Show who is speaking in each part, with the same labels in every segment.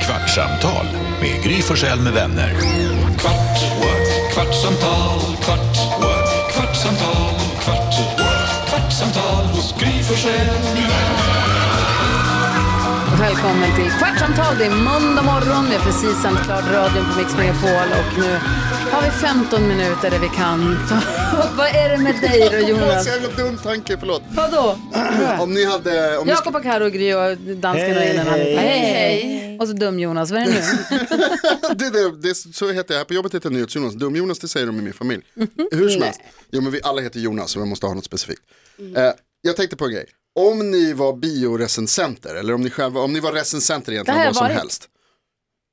Speaker 1: Kvartsamtal med Gry Forssell med vänner. Kvart, what? kvartsamtal, kvart, what? kvartsamtal, kvart, what? kvartsamtal hos Gry Forssell med vänner.
Speaker 2: Välkommen till Kvartsamtal. Det är måndag morgon. Vi har precis sänt klart radion på Mix Megapol och nu har vi 15 minuter där vi kan ta Vad är det med dig då, Jonas?
Speaker 3: Det var en jävla dum tanke, förlåt.
Speaker 2: Vadå?
Speaker 3: Om ni hade... Om ni
Speaker 2: Jakob och Karo och Gry och dansken och
Speaker 3: Hej,
Speaker 2: Elin.
Speaker 3: hej.
Speaker 2: hej, hej. Och så dum-Jonas. Vad är det nu?
Speaker 3: det, det, det, så heter jag här på jobbet, heter jag NyhetsJonas. Dum-Jonas, det säger de i min familj. Hur
Speaker 2: Mm.
Speaker 3: som helst. Jo, men vi alla heter Jonas, så vi måste ha något specifikt. Eh, jag tänkte på en grej. Om ni var biorecensenter, eller om ni själva, om ni var recensenter egentligen
Speaker 2: Det har
Speaker 3: av vad som
Speaker 2: jag varit.
Speaker 3: helst.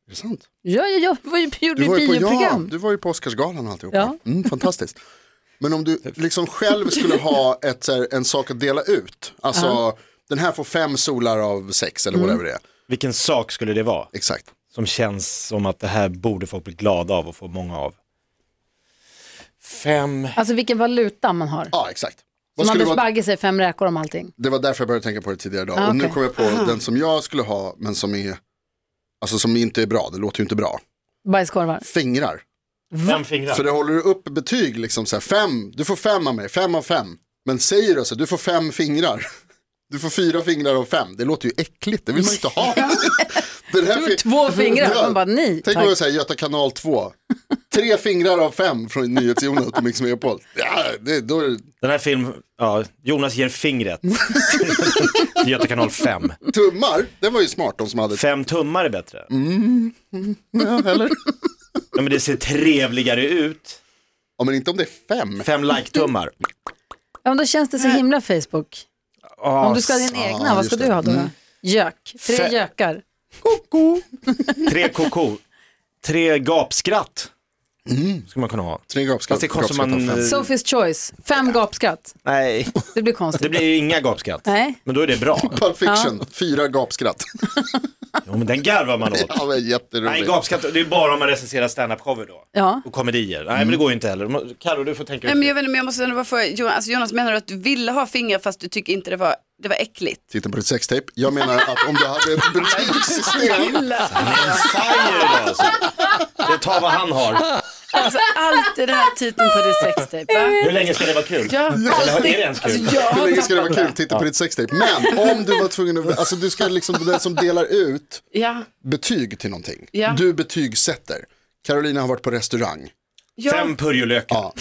Speaker 3: Är det sant?
Speaker 2: Ja, ja, ja. Vad gjorde
Speaker 3: Du
Speaker 2: vi
Speaker 3: var, ju på, ja,
Speaker 2: bioprogram?
Speaker 3: du var ju på Oscarsgalan och alltihopa.
Speaker 2: Ja.
Speaker 3: Mm, fantastiskt. Men om du liksom själv skulle ha ett, så här, en sak att dela ut, alltså den här får fem solar av sex
Speaker 2: Mm.
Speaker 3: eller whatever det är.
Speaker 4: Vilken sak skulle det vara
Speaker 3: Exakt.
Speaker 4: som känns som att det här borde folk bli glada av och få många av? Fem.
Speaker 2: Alltså vilken valuta man har.
Speaker 3: Ja, exakt. Vad
Speaker 2: Som
Speaker 3: skulle
Speaker 2: Anders
Speaker 3: vara-
Speaker 2: Bagge säger, fem räkor om allting.
Speaker 3: Det var därför jag började tänka på det tidigare idag.
Speaker 2: Ah,
Speaker 3: Och nu
Speaker 2: okej.
Speaker 3: kom jag på den som jag skulle ha, men som är, alltså som inte är bra, det låter ju inte bra.
Speaker 2: Bajskorvar.
Speaker 3: Fingrar.
Speaker 4: Fem fingrar.
Speaker 3: För det håller du upp betyg, liksom så här, fem, du får fem av mig, fem av fem. Men säger du så, du får fem fingrar. Du får fyra fingrar av fem, det låter ju äckligt, det vill man ju inte ha. Den här fi-
Speaker 2: Två fingrar.
Speaker 3: Ja.
Speaker 2: Man bara, nej.
Speaker 3: Tänk
Speaker 2: tack.
Speaker 3: om jag säger Göta kanal 2, tre fingrar av fem från NyhetsJonas på Mix Megapol. Ja, det, då är det
Speaker 4: Den här filmen, ja, Jonas ger fingret. Göta kanal 5.
Speaker 3: tummar, den var ju smart de som hade
Speaker 4: Fem tummar är bättre.
Speaker 3: Mm. Ja, eller?
Speaker 4: Ja, men det ser trevligare ut.
Speaker 3: Ja, men inte om det är fem.
Speaker 4: Fem like-tummar.
Speaker 2: Ja, men då känns det så himla Facebook.
Speaker 4: Ah,
Speaker 2: Om du ska ha din
Speaker 3: ja,
Speaker 2: egna, vad ska
Speaker 3: just
Speaker 2: du
Speaker 3: det. Mm.
Speaker 2: ha då? Gök. Tre
Speaker 4: Fe-
Speaker 2: gökar.
Speaker 4: Tre koko. Tre gapskratt. Ska man kunna ha.
Speaker 3: Mm. Tre gapskratt.
Speaker 4: Fast det är konstigt
Speaker 3: Gapskratt
Speaker 4: man-
Speaker 3: av fem.
Speaker 2: Sophie's choice. Fem gapskratt.
Speaker 4: Nej.
Speaker 2: Det blir konstigt.
Speaker 4: Det blir ju inga gapskratt.
Speaker 2: Nej.
Speaker 4: Men då är det bra.
Speaker 3: Pulp Fiction, fyra gapskratt.
Speaker 4: Jo, men den garvar man åt.
Speaker 3: ja, men
Speaker 4: Nej,
Speaker 3: jätteroligt.
Speaker 4: gapskratt, det är bara om man recenserar standup-shower då.
Speaker 2: Ja.
Speaker 4: Och komedier. Nej, men det går ju inte heller. Carro, du får tänka
Speaker 5: Nej,
Speaker 4: ut.
Speaker 5: men jag vet inte, men jag måste ändå bara fråga, Jonas, alltså Jonas menar du att du ville ha fingrar fast du tycker inte det var, det var äckligt?
Speaker 3: Titta på ditt sextape. Jag menar att om du hade ett betygssystem.
Speaker 4: Fire alltså. Det tar vad han har.
Speaker 5: Alltså alltid den här titeln på din sextape, va?
Speaker 4: Hur länge ska det vara kul? Eller är det
Speaker 2: Alltså,
Speaker 4: ens kul?
Speaker 3: Hur länge ska det vara kul? Titta på ditt sextape. Men om du var tvungen att, alltså du ska liksom, vara den som delar ut
Speaker 5: Ja.
Speaker 3: betyg till någonting.
Speaker 5: Ja.
Speaker 3: Du betygsätter. Carolina har varit på restaurang.
Speaker 5: ja.
Speaker 4: Fem purjolökar.
Speaker 3: Ja.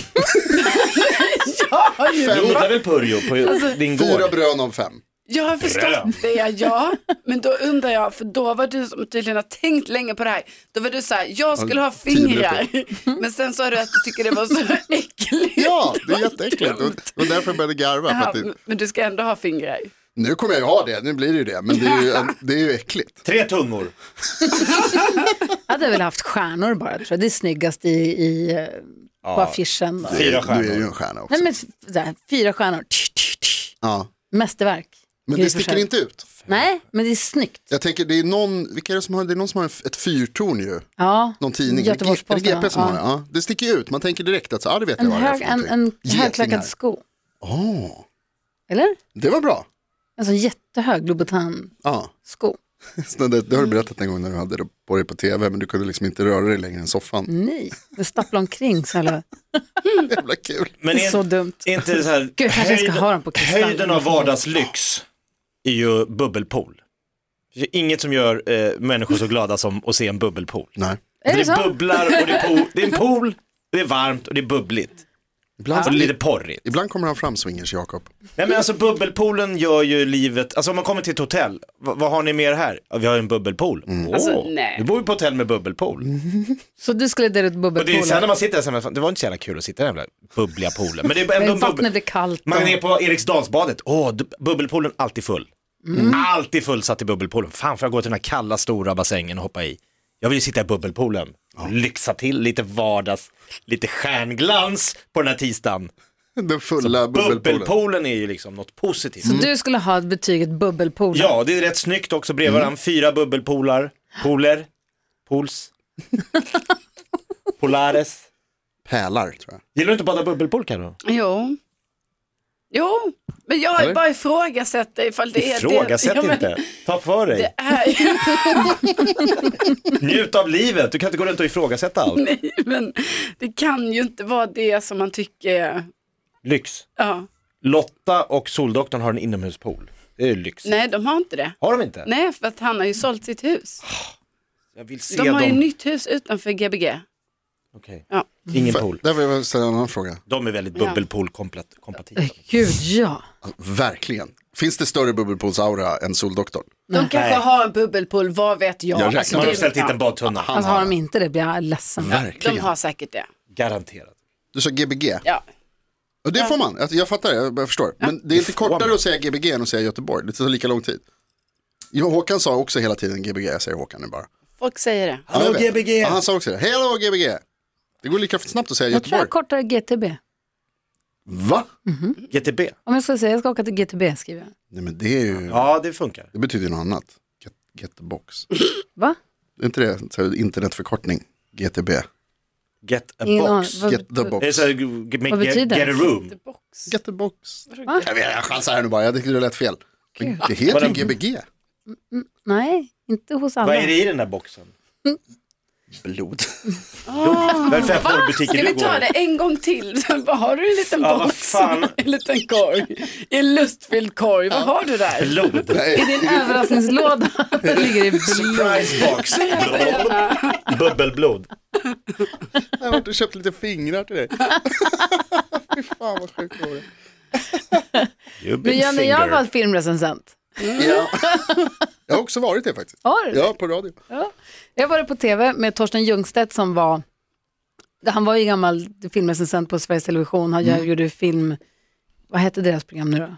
Speaker 4: Du odlar väl purjo på
Speaker 2: Alltså,
Speaker 4: din
Speaker 3: Fyra
Speaker 4: gård?
Speaker 3: brön av fem.
Speaker 5: Jag har
Speaker 4: Brön.
Speaker 5: förstått det, ja. Men då undrar jag, för då var du som tydligen har tänkt länge på det här. Då var du så här, jag skulle ha
Speaker 3: tio minuter.
Speaker 5: fingrar. Men sen sa du att du tycker det var så äckligt.
Speaker 3: Ja, det är
Speaker 5: Vad
Speaker 3: jätteäckligt.
Speaker 5: dumt.
Speaker 3: Och, och därför började jag garva. För
Speaker 5: Jaha,
Speaker 3: att det,
Speaker 5: Men du ska ändå ha fingrar.
Speaker 3: nu kommer jag ju ha det, nu blir det ju det. Men det är ju, det är ju äckligt.
Speaker 4: Tre tungor.
Speaker 2: Jag hade väl haft stjärnor bara, tror jag. Det är snyggast i, i, eh, på affischen. Då.
Speaker 4: Fyra
Speaker 3: Du är ju
Speaker 4: stjärnor.
Speaker 3: en stjärna också.
Speaker 2: Nej, men, f- så här, fyra stjärnor. Tch, tch, tch.
Speaker 3: Ja.
Speaker 2: Mästerverk.
Speaker 3: Men
Speaker 2: Gry
Speaker 3: det sticker
Speaker 2: Forssell.
Speaker 3: inte ut.
Speaker 2: Nej, men det är snyggt.
Speaker 3: Jag tänker, det är någon, vilka är det som har, det är någon som har ett fyrtorn ju.
Speaker 2: Ja.
Speaker 3: Någon tidning, Är det G- är det
Speaker 2: Göteborgs-Posten,
Speaker 3: GP som
Speaker 2: ja.
Speaker 3: har det? Ja, det sticker ju ut, man tänker direkt att så, ja det vet
Speaker 2: En,
Speaker 3: jag vad det är
Speaker 2: hög,
Speaker 3: för
Speaker 2: en, en
Speaker 3: någonting. Getingar.
Speaker 2: högklackad sko.
Speaker 3: Åh,
Speaker 2: Eller?
Speaker 3: det var bra.
Speaker 2: En sån jättehög Louboutin-sko.
Speaker 3: Ja, Snälla, det, det har du berättat en gång när du hade det på dig på tv, men du kunde liksom inte röra dig längre än soffan.
Speaker 2: Nej, den stapplar omkring så jävla...
Speaker 3: Jävla kul.
Speaker 4: Men
Speaker 2: Det är så dumt.
Speaker 4: är inte det så här,
Speaker 2: jag kanske ska ha dem på kristallen.
Speaker 4: höjden av vardagslyx är ju bubbelpool. Det är inget som gör eh, människor så glada som att se en bubbelpool. Alltså,
Speaker 3: Nej.
Speaker 2: Är det
Speaker 4: det
Speaker 2: så?
Speaker 4: bubblar och det är, pool, det är en pool, det är varmt och det är bubbligt.
Speaker 3: Ibland,
Speaker 4: Och det är lite porrigt.
Speaker 3: ibland kommer han fram, swingers Jakob.
Speaker 4: Nej men alltså bubbelpoolen gör ju livet, alltså om man kommer till ett hotell, vad, vad har ni mer här? Ja, vi har ju en bubbelpool. Åh,
Speaker 5: Alltså, nej.
Speaker 4: Nu bor vi på hotell med bubbelpool.
Speaker 2: Mm. Så du skulle dela ut
Speaker 4: Och det är sen när
Speaker 2: bubbelpooler?
Speaker 4: man sitter där, så här, fan, det var inte så jävla kul att sitta i den här jävla bubbliga poolen. Men det är ändå
Speaker 2: Men
Speaker 4: en bubbel...
Speaker 2: Vattnet blir kallt. och-
Speaker 4: Man är på Eriksdalsbadet, åh, du- bubbelpoolen alltid full. Alltid fullsatt i bubbelpoolen. Fan får jag gå till den här kalla stora bassängen och hoppa i. Jag vill ju sitta i bubbelpoolen, lyxa till lite vardags, lite stjärnglans på den här tisdagen.
Speaker 3: Den fulla bubbelpoolen.
Speaker 4: Bubbelpoolen är ju liksom något positivt.
Speaker 2: Så du skulle ha betyget bubbelpooler?
Speaker 4: Ja, det är rätt snyggt också bredvid varandra. Fyra bubbelpolar, pooler, pools, polares.
Speaker 3: Pärlar tror jag.
Speaker 4: Gillar du inte att bada bubbelpool Carro?
Speaker 5: Jo. Jo, men jag
Speaker 3: Eller?
Speaker 5: har bara ifrågasätter ifall det är
Speaker 4: Ifrågasätt
Speaker 5: det. Ja, men
Speaker 4: inte, ta för dig,
Speaker 5: Det är ju
Speaker 4: njut av livet, du kan inte gå runt och ifrågasätta allt.
Speaker 5: nej, men det kan ju inte vara det som man tycker är,
Speaker 4: Lyx.
Speaker 5: ja.
Speaker 4: Lotta och Soldoktorn har en inomhuspool, det är lyx.
Speaker 5: Nej, de har inte det.
Speaker 4: Har de inte?
Speaker 5: Nej, för att han har ju sålt sitt hus.
Speaker 4: Jag vill se
Speaker 5: De har ju
Speaker 4: dem.
Speaker 5: nytt hus utanför Gbg.
Speaker 4: Okej.
Speaker 5: Ja.
Speaker 4: Ingen
Speaker 3: För,
Speaker 4: pool.
Speaker 3: där vill jag ställa en annan fråga.
Speaker 4: De är väldigt bubbelpool-kompatibla.
Speaker 2: Gud, ja.
Speaker 3: Verkligen. Finns det större bubbelpoolsaura än Soldoktorn?
Speaker 5: De kanske har en bubbelpool, vad vet jag.
Speaker 3: Jag
Speaker 5: Alltså,
Speaker 3: räknar
Speaker 4: Man
Speaker 5: det-
Speaker 4: har ställt hit en badtunna,
Speaker 2: Alltså, har de inte det blir jag ledsen.
Speaker 5: De
Speaker 3: Verkligen.
Speaker 5: har säkert det.
Speaker 4: garanterat.
Speaker 3: Du sa Gbg.
Speaker 5: Ja.
Speaker 3: Och det får man, Alltså, jag fattar det, jag förstår. Men det är inte
Speaker 4: får man.
Speaker 3: kortare att säga Gbg än att säga Göteborg, det tar lika lång tid. Jo, Håkan sa också hela tiden Gbg, jag säger Håkan nu bara.
Speaker 5: Folk säger det.
Speaker 3: Ja, jag
Speaker 4: Hallå
Speaker 3: vet.
Speaker 4: Gbg!
Speaker 3: Ja, han sa också det, hello Gbg. Det går lika snabbt att säga
Speaker 2: Jag tror
Speaker 3: Göteborg.
Speaker 2: jag kortar GTB.
Speaker 3: Va?
Speaker 4: GTB.
Speaker 2: Om jag ska säga jag ska åka till GTB skriver jag.
Speaker 3: Nej men det är ju,
Speaker 4: Ja, det funkar.
Speaker 3: det betyder ju något annat. Get, get the box.
Speaker 2: Va?
Speaker 3: Är inte det så här internetförkortning? GTB.
Speaker 4: Get a
Speaker 2: Ingen
Speaker 4: box.
Speaker 2: aning. Vad-
Speaker 3: Get the box.
Speaker 4: Det är så här, g-
Speaker 2: Vad
Speaker 4: med get,
Speaker 2: betyder
Speaker 4: get a
Speaker 2: det?
Speaker 4: room.
Speaker 3: Get the box. Jag, vet, jag chansar här nu bara, jag tyckte det lät fel. Men det heter ju
Speaker 4: Vadå?
Speaker 3: Gbg.
Speaker 2: Nej, inte hos alla.
Speaker 4: Vad är det i den där boxen?
Speaker 3: Blod.
Speaker 4: Varför jag får butiken
Speaker 5: Ah, Ska
Speaker 4: du
Speaker 5: vi ta
Speaker 4: går
Speaker 5: det
Speaker 4: i?
Speaker 5: en gång till? Vad har du en liten
Speaker 4: Ja, vad
Speaker 5: box?
Speaker 4: fan.
Speaker 5: En liten korg? En lustfylld korg? Vad har du där?
Speaker 4: Blod.
Speaker 2: I din överraskningslåda det ligger i blod.
Speaker 4: Surprise box. Bubbelblod.
Speaker 3: Jag har varit och köpt lite fingrar till dig. Fy fan vad sjukt det vore.
Speaker 4: You've
Speaker 2: Men
Speaker 4: been
Speaker 2: Jenny, jag
Speaker 4: fingered.
Speaker 2: var filmrecensent.
Speaker 3: Ja.
Speaker 2: Mm.
Speaker 3: Jag har också varit det faktiskt.
Speaker 2: Har du?
Speaker 3: Ja, på radio.
Speaker 2: Ja. Jag var på tv med Torsten Ljungstedt som var, han var ju gammal filmrecensent på Sveriges Television, han gör- gjorde film, vad hette deras program nu då?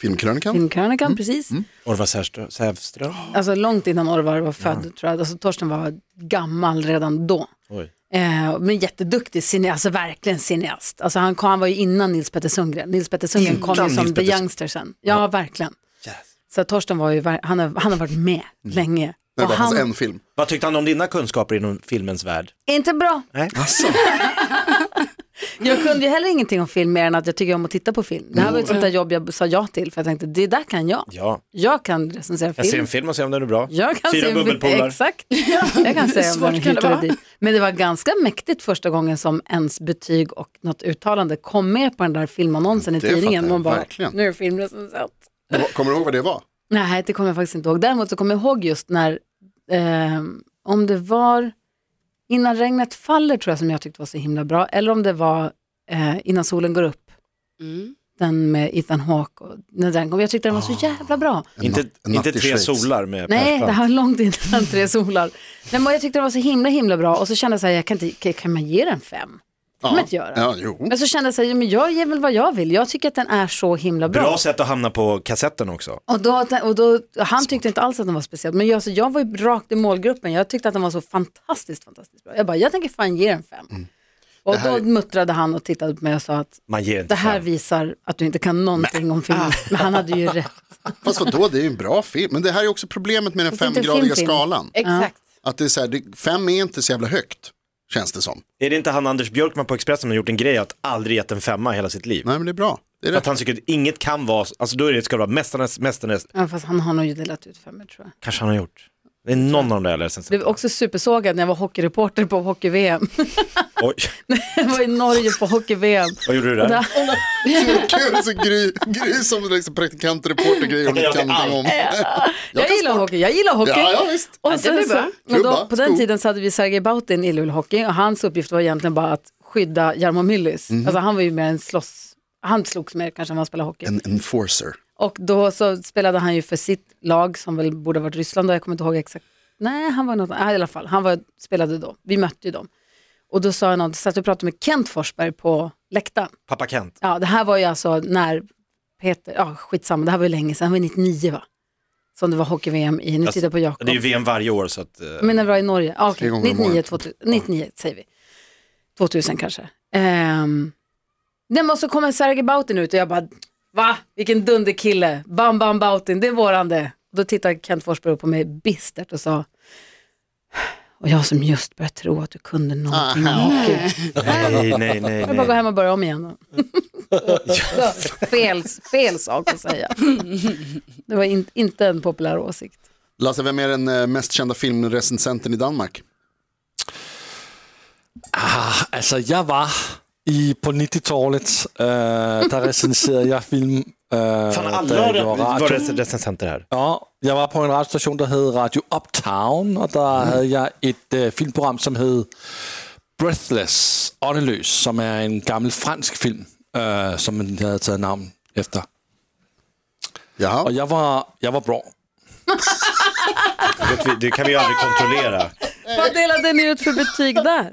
Speaker 3: Filmkrönikan.
Speaker 2: Filmkrönikan, precis.
Speaker 4: Orvar Sävström. Sävström.
Speaker 2: Alltså långt innan Orvar var född tror jag, alltså Torsten var gammal redan då.
Speaker 4: Oj.
Speaker 2: Eh, men jätteduktig cineast, alltså verkligen cineast. Alltså han, kom, han var ju innan Nils Petter Sundgren. Nils Petter Sundgren kom ju
Speaker 4: Innan
Speaker 2: som
Speaker 4: Nils
Speaker 2: The
Speaker 4: Petter-
Speaker 2: Youngster sen. Ja, verkligen.
Speaker 4: Yes.
Speaker 2: Så Torsten var ju, ver- han har, han har varit med länge.
Speaker 3: Det
Speaker 2: Och
Speaker 3: var hans
Speaker 2: han,
Speaker 3: en film.
Speaker 4: Vad tyckte han om dina kunskaper inom filmens värld?
Speaker 2: inte bra.
Speaker 4: Nej.
Speaker 3: Alltså,
Speaker 2: Jag kunde ju heller ingenting om film mer än att jag tycker om att titta på film. Det här var ett sånt där jobb jag sa ja till för jag tänkte det där kan jag.
Speaker 4: Ja,
Speaker 2: Jag kan recensera
Speaker 4: jag ser
Speaker 2: film.
Speaker 4: en film och ser om den är bra.
Speaker 2: Jag kan
Speaker 4: Fyra
Speaker 2: se
Speaker 4: bubbelpoolar.
Speaker 2: Exakt. Jag kan säga om
Speaker 5: Svårt
Speaker 2: den
Speaker 5: kan
Speaker 2: hit
Speaker 5: det
Speaker 2: eller
Speaker 5: vara.
Speaker 2: dit. Men det var ganska mäktigt första gången som ens betyg och något uttalande kom med på den där filmannonsen i
Speaker 3: Det
Speaker 2: tidningen.
Speaker 3: fattar jag,
Speaker 2: Man bara,
Speaker 3: verkligen.
Speaker 2: nu är det filmrecensent.
Speaker 3: Kommer du ihåg vad det var?
Speaker 2: Nej, det kommer jag faktiskt inte ihåg. Däremot så kommer jag ihåg just när, ehm, om det var innan regnet faller tror jag som jag tyckte var så himla bra, eller om det var eh, innan solen går upp.
Speaker 5: Mm.
Speaker 2: Den med Ethan Hawke. Och, när den kom. Jag tyckte den var
Speaker 3: Ah.
Speaker 2: så jävla bra.
Speaker 4: Inte,
Speaker 3: natt- en natt
Speaker 4: inte
Speaker 3: i
Speaker 4: tre
Speaker 3: Schweiz.
Speaker 4: solar med
Speaker 2: Nej,
Speaker 4: Per
Speaker 2: det
Speaker 4: Strand.
Speaker 2: här var långt innan Tre solar. Nej, men jag tyckte den var så himla himla bra och så kände jag så här, jag kan, inte, kan- kan man ge den fem? kan man inte göra.
Speaker 3: Ja, jo.
Speaker 2: Men så kände jag så här, men jag ger väl vad jag vill. Jag tycker att den är så himla bra.
Speaker 4: Bra sätt att hamna på kassetten också.
Speaker 2: Och då, och då, han tyckte inte alls att den var speciell, men jag, så jag var ju rakt i målgruppen. Jag tyckte att den var så fantastiskt, fantastiskt bra. Jag bara, jag tänker fan ge den fem. Och då muttrade han och tittade på mig och sa att
Speaker 4: Man ger inte
Speaker 2: det här
Speaker 4: fan.
Speaker 2: visar att du inte kan någonting om film. Men han hade ju rätt.
Speaker 3: Fast vadå, det är ju en bra film. Men det här är också problemet med den
Speaker 2: Fast inte en
Speaker 3: femgradiga
Speaker 2: filmfilm.
Speaker 3: skalan.
Speaker 5: Exakt.
Speaker 3: Att det är så här, det, fem är inte så jävla högt, känns det som.
Speaker 4: Är det inte han Anders Björkman på Expressen som har gjort en grej att aldrig gett en femma i hela sitt liv?
Speaker 3: Nej, men det är bra. Det är
Speaker 4: För att
Speaker 3: rätt.
Speaker 4: han tycker att inget kan vara, alltså då är det, ska det vara mästarnas, mästarnas,
Speaker 2: Ja, fast han har nog ju delat ut femmor tror jag.
Speaker 4: kanske han har gjort. Det är någon av de där läsen.
Speaker 2: Blev också supersågad när jag var hockeyreporter på hockey-VM.
Speaker 4: Oj,
Speaker 2: Jag var i Norge på hockey-VM.
Speaker 4: vad gjorde du
Speaker 2: Och där-
Speaker 4: där?
Speaker 3: Så kul, så gry, gry som liksom praktikant, reporter, grejer hon inte kan någonting om.
Speaker 2: Jag gillar hockey, jag gillar hockey.
Speaker 3: Ja, ja, visst.
Speaker 2: Och sen
Speaker 5: blir
Speaker 2: så,
Speaker 5: bra.
Speaker 2: men då,
Speaker 3: Klubba,
Speaker 2: på den
Speaker 3: sko.
Speaker 2: tiden så hade vi Sergej Bautin i Luleå Hockey och hans uppgift var egentligen bara att skydda Jarmo Myllys.
Speaker 3: Mhm.
Speaker 2: Alltså han var ju mer en slåss, han slogs mer kanske än vad han spelade hockey.
Speaker 3: En enforcer.
Speaker 2: Och då så spelade han ju för sitt lag som väl borde ha varit Ryssland och jag kommer inte ihåg exakt. Nej, han var något, nej, i alla fall, han var, spelade då, vi mötte ju dem. Och då sa jag något, satt och pratade med Kent Forsberg på läktaren.
Speaker 4: Pappa Kent.
Speaker 2: Ja, det här var ju alltså när Peter, ja skitsamma, det här var ju länge sedan, det var 99 va? Som det var hockey-VM i,
Speaker 3: Alltså,
Speaker 2: nu tittar jag på Jakob.
Speaker 4: Det är ju VM varje år så att, eh,
Speaker 2: Jag menar bra i Norge. Ah, okay.
Speaker 3: Tre gånger om
Speaker 2: 99,
Speaker 3: året.
Speaker 2: 2000, 99 säger vi. 2000 kanske. Um, nej, men så kommer Sergej Bautin ut och jag bara, va? Vilken dunderkille. Bam, bam, Bautin, det är våran det. Då tittar Kent Forsberg upp på mig bistert och sa, Och jag som just börjat tro att du kunde
Speaker 3: Ah.
Speaker 2: någonting.
Speaker 3: Aha.
Speaker 2: om Gud.
Speaker 4: Nej, nej,
Speaker 2: Jag
Speaker 4: nej.
Speaker 2: vill bara gå
Speaker 4: nej.
Speaker 2: hem och börja om igen. då. Så, fel, fel sak att säga. Det var in, inte en populär åsikt.
Speaker 3: Lasse, vem är den eh, mest kända filmrecensenten i Danmark?
Speaker 6: Altså, jeg var i på 90-tallet, øh, der recenserede jeg film, øh,
Speaker 4: Fan,
Speaker 6: da
Speaker 4: alla
Speaker 6: jeg gjorde
Speaker 4: var
Speaker 6: radio.
Speaker 4: rec- recensenter här.
Speaker 6: Ja, jeg var på en radiostation, der hed Radio Uptown, og der
Speaker 4: Mm.
Speaker 6: havde jeg et øh, filmprogram, som hed Breathless, Åndeløs, som er en gammel fransk film, øh, som man havde taget navn efter.
Speaker 3: Jaha.
Speaker 2: Ah.
Speaker 6: Og jeg var, jeg var bra.
Speaker 4: Vet vi, det kan vi ju aldrig kontrollera.
Speaker 2: Vad delade ni ut för betyg där?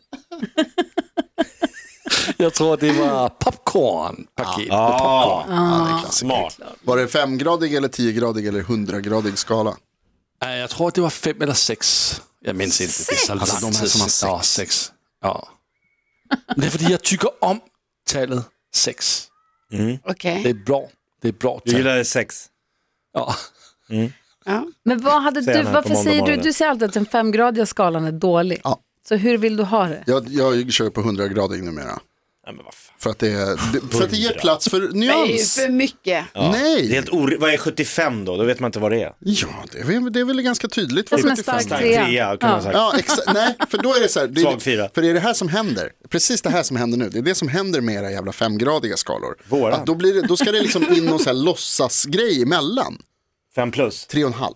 Speaker 6: Jeg tror, det var popcorn-paket. med popcorn.
Speaker 4: Ah, smart.
Speaker 3: Var det femgradig eller tiogradig eller hundragradig skala?
Speaker 6: Ja, jeg tror, det var fem eller seks. Jeg mindes ikke, det er så langt
Speaker 3: Altså, de her, som har
Speaker 6: siden. Ja, seks. Ja. Men det er, fordi jeg tykker om tallet seks.
Speaker 5: Okej.
Speaker 6: Det er blå. Det er blå
Speaker 4: Du
Speaker 6: tal.
Speaker 4: gillar sex?
Speaker 6: Ja.
Speaker 5: Ja.
Speaker 2: Men vad hade
Speaker 4: Säger
Speaker 2: du,
Speaker 4: han här på
Speaker 2: varför
Speaker 4: måndag
Speaker 2: säger du,
Speaker 4: morgonen.
Speaker 2: du säger alltid att den femgradiga skalan är dålig.
Speaker 3: Ja.
Speaker 2: Så hur vill du ha det?
Speaker 3: Jag, jag kör på hundragradig numera.
Speaker 4: Nej, men vad fan.
Speaker 3: För att det, det, för att det ger plats för
Speaker 5: Det är ju
Speaker 3: nyans.
Speaker 5: för mycket.
Speaker 4: Det är
Speaker 3: Nej,
Speaker 4: helt or- Vad är 75 då? Då vet man inte vad det är.
Speaker 3: ja, det är, väl- det är väl ganska tydligt.
Speaker 2: Det är som en
Speaker 3: 75.
Speaker 2: stark
Speaker 4: Stark
Speaker 2: Trea.
Speaker 4: trea kunde man sagt.
Speaker 3: Ja, exa- nej, för då är det så här. Det är,
Speaker 4: Svag fyra.
Speaker 3: För det är det här som händer. Precis det här som händer nu. Det är det som händer med era jävla femgradiga skalor.
Speaker 4: Våran.
Speaker 3: Att då, blir det, då ska det liksom in någon så här låtsasgrej emellan.
Speaker 4: Fem plus.
Speaker 3: Tre och en halv.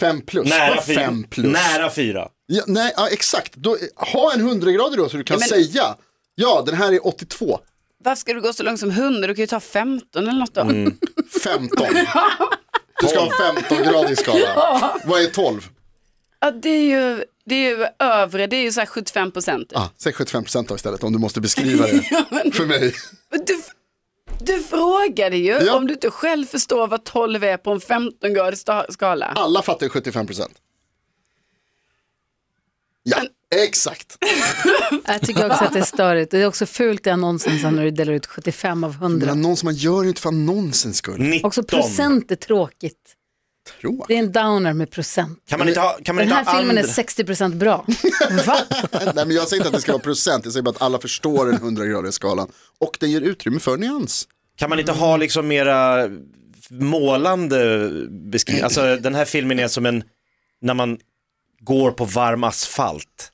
Speaker 3: Fem plus.
Speaker 4: Nära
Speaker 3: Vad
Speaker 4: fyra.
Speaker 3: Fem plus.
Speaker 4: Nära fyra.
Speaker 3: Ja, nej, ja, exakt. Då, ha en hundragradig då så du kan
Speaker 5: men-
Speaker 3: säga. Ja, den här är 82.
Speaker 5: Varför ska du gå så långt som 100? Du kan ju ta 15 eller något då.
Speaker 4: Mm.
Speaker 3: 15. Du ska ha en 15-gradig skala. Vad är 12?
Speaker 5: Ja, det, är ju, det är ju övre, det är ju så här 75 procent.
Speaker 3: Ah, säg 75 procent då istället om du måste beskriva det för mig.
Speaker 5: Du, du frågade ju
Speaker 3: Ja.
Speaker 5: om du inte själv förstår vad 12 är på en 15-gradig sta- skala.
Speaker 3: Alla fattar ju 75 procent. Ja, exakt.
Speaker 2: Jag tycker också att det är störigt. Det är också fult i annonsen sen när du delar ut 75 av 100.
Speaker 3: Men någon som man gör inte för annonsens skull.
Speaker 4: 19.
Speaker 2: Också procent är tråkigt.
Speaker 3: Tror
Speaker 2: Det är en downer med procent.
Speaker 4: Kan man inte ha, kan man
Speaker 2: Den
Speaker 4: inte
Speaker 2: här
Speaker 4: ha
Speaker 2: filmen är
Speaker 4: andra?
Speaker 2: 60 procent bra. Va?
Speaker 3: jag. Nej, men jag säger inte att det ska vara procent, jag säger bara att alla förstår den 100-gradiga skalan. Och den ger utrymme för nyans.
Speaker 4: Kan man inte ha liksom mera målande beskrivning? Alltså den här filmen är som en, när man går på varm asfalt.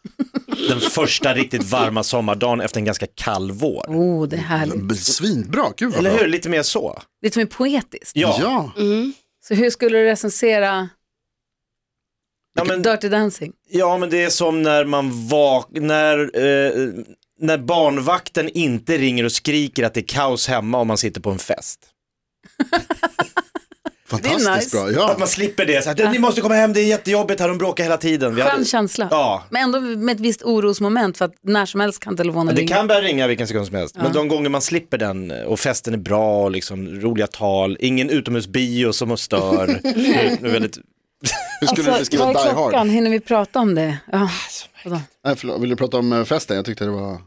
Speaker 4: Den första riktigt varma sommardagen efter en ganska kall vår.
Speaker 2: Oh, det är härligt.
Speaker 3: B- Svinbra, gud vad
Speaker 4: Eller
Speaker 3: bra.
Speaker 4: hur? Lite mer så.
Speaker 2: Lite som är poetiskt.
Speaker 4: Ja. ja.
Speaker 3: Ja,
Speaker 2: Så hur skulle du recensera
Speaker 4: men,
Speaker 2: Dirty Dancing?
Speaker 4: ja men det är som när man vak... När, eh, när barnvakten inte ringer och skriker att det är kaos hemma om man sitter på en fest.
Speaker 3: fantastiskt
Speaker 2: nice.
Speaker 3: bra.
Speaker 4: Att
Speaker 3: Ja.
Speaker 4: man slipper det. Så här, Ni måste komma hem, det är jättejobbigt här, de bråkar hela tiden. Vi
Speaker 2: Skön
Speaker 4: hade-
Speaker 2: känsla.
Speaker 4: Ja,
Speaker 2: Men ändå med ett visst orosmoment för att när som helst kan telefonen
Speaker 4: Det
Speaker 2: ringa.
Speaker 4: kan börja ringa vilken sekund som helst. Men de gånger man slipper den och festen är bra och liksom roliga tal, ingen utomhusbio som stör. Det är väldigt...
Speaker 3: Hur skulle du
Speaker 2: Alltså,
Speaker 3: beskriva
Speaker 2: vad
Speaker 3: Die
Speaker 2: är
Speaker 3: Hard?
Speaker 2: klockan? Hinner vi prata om det? Ja.
Speaker 3: Nej, förlåt, vill du prata om eh, festen? Jag tyckte det var...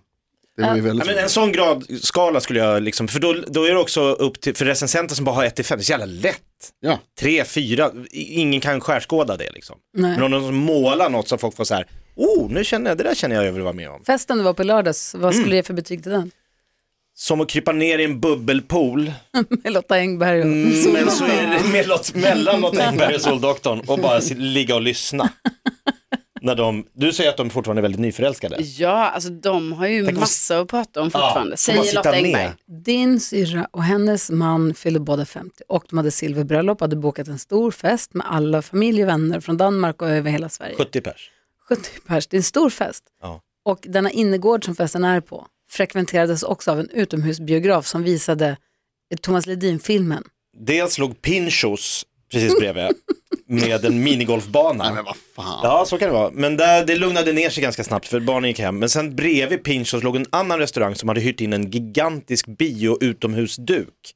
Speaker 3: Det var ju
Speaker 4: Ja,
Speaker 3: väldigt...
Speaker 4: men en sån gradskala skulle jag liksom, för då, då är det också upp till, för recensenter som bara har 1 till 5, det är så jävla lätt.
Speaker 3: Ja.
Speaker 4: 3, 4, ingen kan skärskåda det liksom.
Speaker 2: Nej.
Speaker 4: Men om de målar något så folk får så här, oh, nu känner jag, det där känner jag jag vill vara med om.
Speaker 2: Festen du var på lördags, vad
Speaker 4: Mm.
Speaker 2: skulle du ge för betyg till den?
Speaker 4: Som att krypa ner i en bubbelpool
Speaker 2: Med Lotta Engberg och...
Speaker 4: Men så är det med Lott, mellan Lotta Engberg och Soldoktorn och bara sit- ligga och lyssna. När de, du säger att de fortfarande är väldigt nyförälskade.
Speaker 5: Ja, alltså de har ju
Speaker 4: Tänk om-
Speaker 5: massa att prata om
Speaker 4: Ja,
Speaker 5: fortfarande,
Speaker 4: de bara
Speaker 5: säger
Speaker 4: sitta
Speaker 5: Lotta
Speaker 4: ner.
Speaker 5: Engberg.
Speaker 2: Din syrra och hennes man fyllde båda 50 och de hade silverbröllop och hade bokat en stor fest med alla familj och vänner från Danmark och över hela Sverige.
Speaker 4: 70 pers.
Speaker 2: 70 pers, det är en stor fest.
Speaker 4: Ja.
Speaker 2: Och denna innergård som festen är på frekventerades också av en utomhusbiograf som visade Thomas Ledin-filmen.
Speaker 4: Dels låg Pinchos precis bredvid med en minigolfbana.
Speaker 3: Nej, men vad fan.
Speaker 4: Ja, så kan det vara. Men där, det lugnade ner sig ganska snabbt för barnen gick hem. Men sen bredvid Pinchos låg en annan restaurang som hade hyrt in en gigantisk bio-utomhusduk.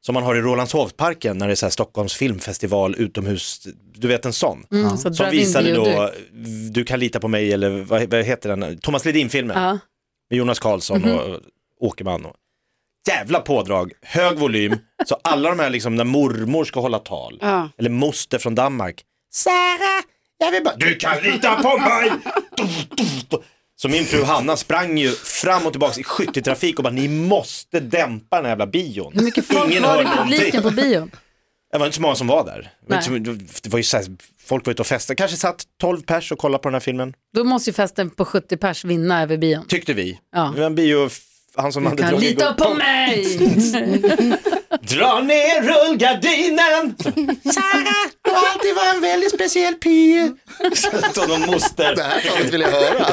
Speaker 4: Som man har i Rålambshovsparken när det är så här Stockholms filmfestival utomhus, du vet en sån.
Speaker 2: Mm, så
Speaker 4: Som
Speaker 2: drive-in
Speaker 4: visade
Speaker 2: bio
Speaker 4: då,
Speaker 2: du.
Speaker 4: du kan lita på mig, eller vad, vad heter den, Thomas Ledin-filmen
Speaker 2: Ja.
Speaker 4: med Jonas Karlsson
Speaker 2: Mhm.
Speaker 4: och Åkerman. Och, jävla pådrag, hög volym, så alla de här liksom när mormor ska hålla tal,
Speaker 5: Ja.
Speaker 4: eller moster från Danmark, Sara, Jag vill bara, du kan lita på mig! Du, du, du. Så min fru Hanna sprang ju fram och tillbaka i skytteltrafik och bara, ni måste dämpa den här jävla bion.
Speaker 2: Hur mycket folk var
Speaker 4: hör
Speaker 2: i publiken på bion?
Speaker 4: Det var inte så många som var där. Det var inte så- Det var ju så här, folk var ute och festade, kanske satt 12 pers och kollade på den här filmen.
Speaker 2: Då måste ju festen på 70 pers vinna över bion.
Speaker 4: Tyckte vi.
Speaker 2: Ja.
Speaker 4: Det var en bio, han som hade
Speaker 2: Kan
Speaker 4: dragit
Speaker 2: lita
Speaker 4: igång-
Speaker 2: på mig!
Speaker 4: Dra ner rullgardinen! Sara, du har alltid varit en väldigt speciell pige. Så någon moster.
Speaker 3: Det här talet vill jag höra.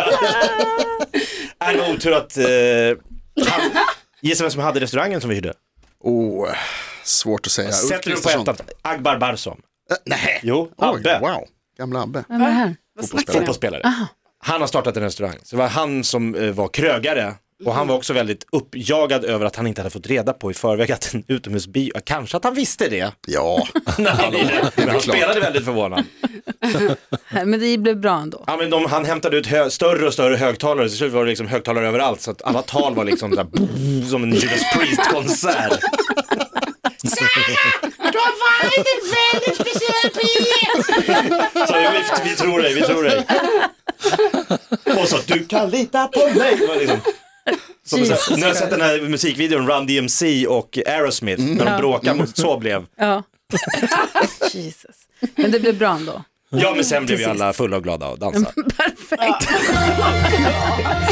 Speaker 4: Är det otur att... Eh, han, gissa vem som hade restaurangen som vi hyrde?
Speaker 3: Oh, svårt att säga. Ulf
Speaker 4: Sätter du på
Speaker 3: Kristersson.
Speaker 4: ettan? Agbar Barsom.
Speaker 3: Eh, Nej.
Speaker 4: Jo, Abbe.
Speaker 3: Oj, wow. Gamla Abbe.
Speaker 2: Vem är det här?
Speaker 5: Vad snackar ni om?
Speaker 4: Fotbollsspelare. Han har startat en restaurang. Så det var han som eh, var krögare. Och han var också väldigt uppjagad över att han inte hade fått reda på i förväg att en utomhusbio, kanske att han visste det.
Speaker 3: Ja,
Speaker 4: När han, hyrde. men han
Speaker 3: klart.
Speaker 4: spelade väldigt förvånad.
Speaker 2: Men det blev bra ändå.
Speaker 4: Ja, men de, han hämtade ut hö, större och större högtalare, så slut var det liksom högtalare överallt så att alla tal var liksom där, boom, som en Judas Priest-konsert. Så vi, vi tror dig, vi tror dig. Och så du kan lita på mig. Det var Liksom. Som en sån här- När jag sett den här musikvideon, Run DMC och Aerosmith, när de bråkade, mot- så blev.
Speaker 2: Ja. Jesus. Men det blev bra ändå.
Speaker 4: Ja men sen blev vi alla fulla och glada och dansade.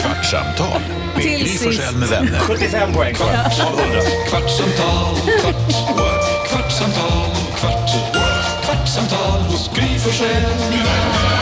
Speaker 1: Kvartsamtal med
Speaker 2: Till
Speaker 1: Gry
Speaker 2: sist.
Speaker 1: Forssell med vänner.
Speaker 4: 75 poäng kvar av 100.
Speaker 1: Kvartsamtal, kvart, what? kvartsamtal, kvart, what? kvartsamtal hos Gry Forssell med vänner.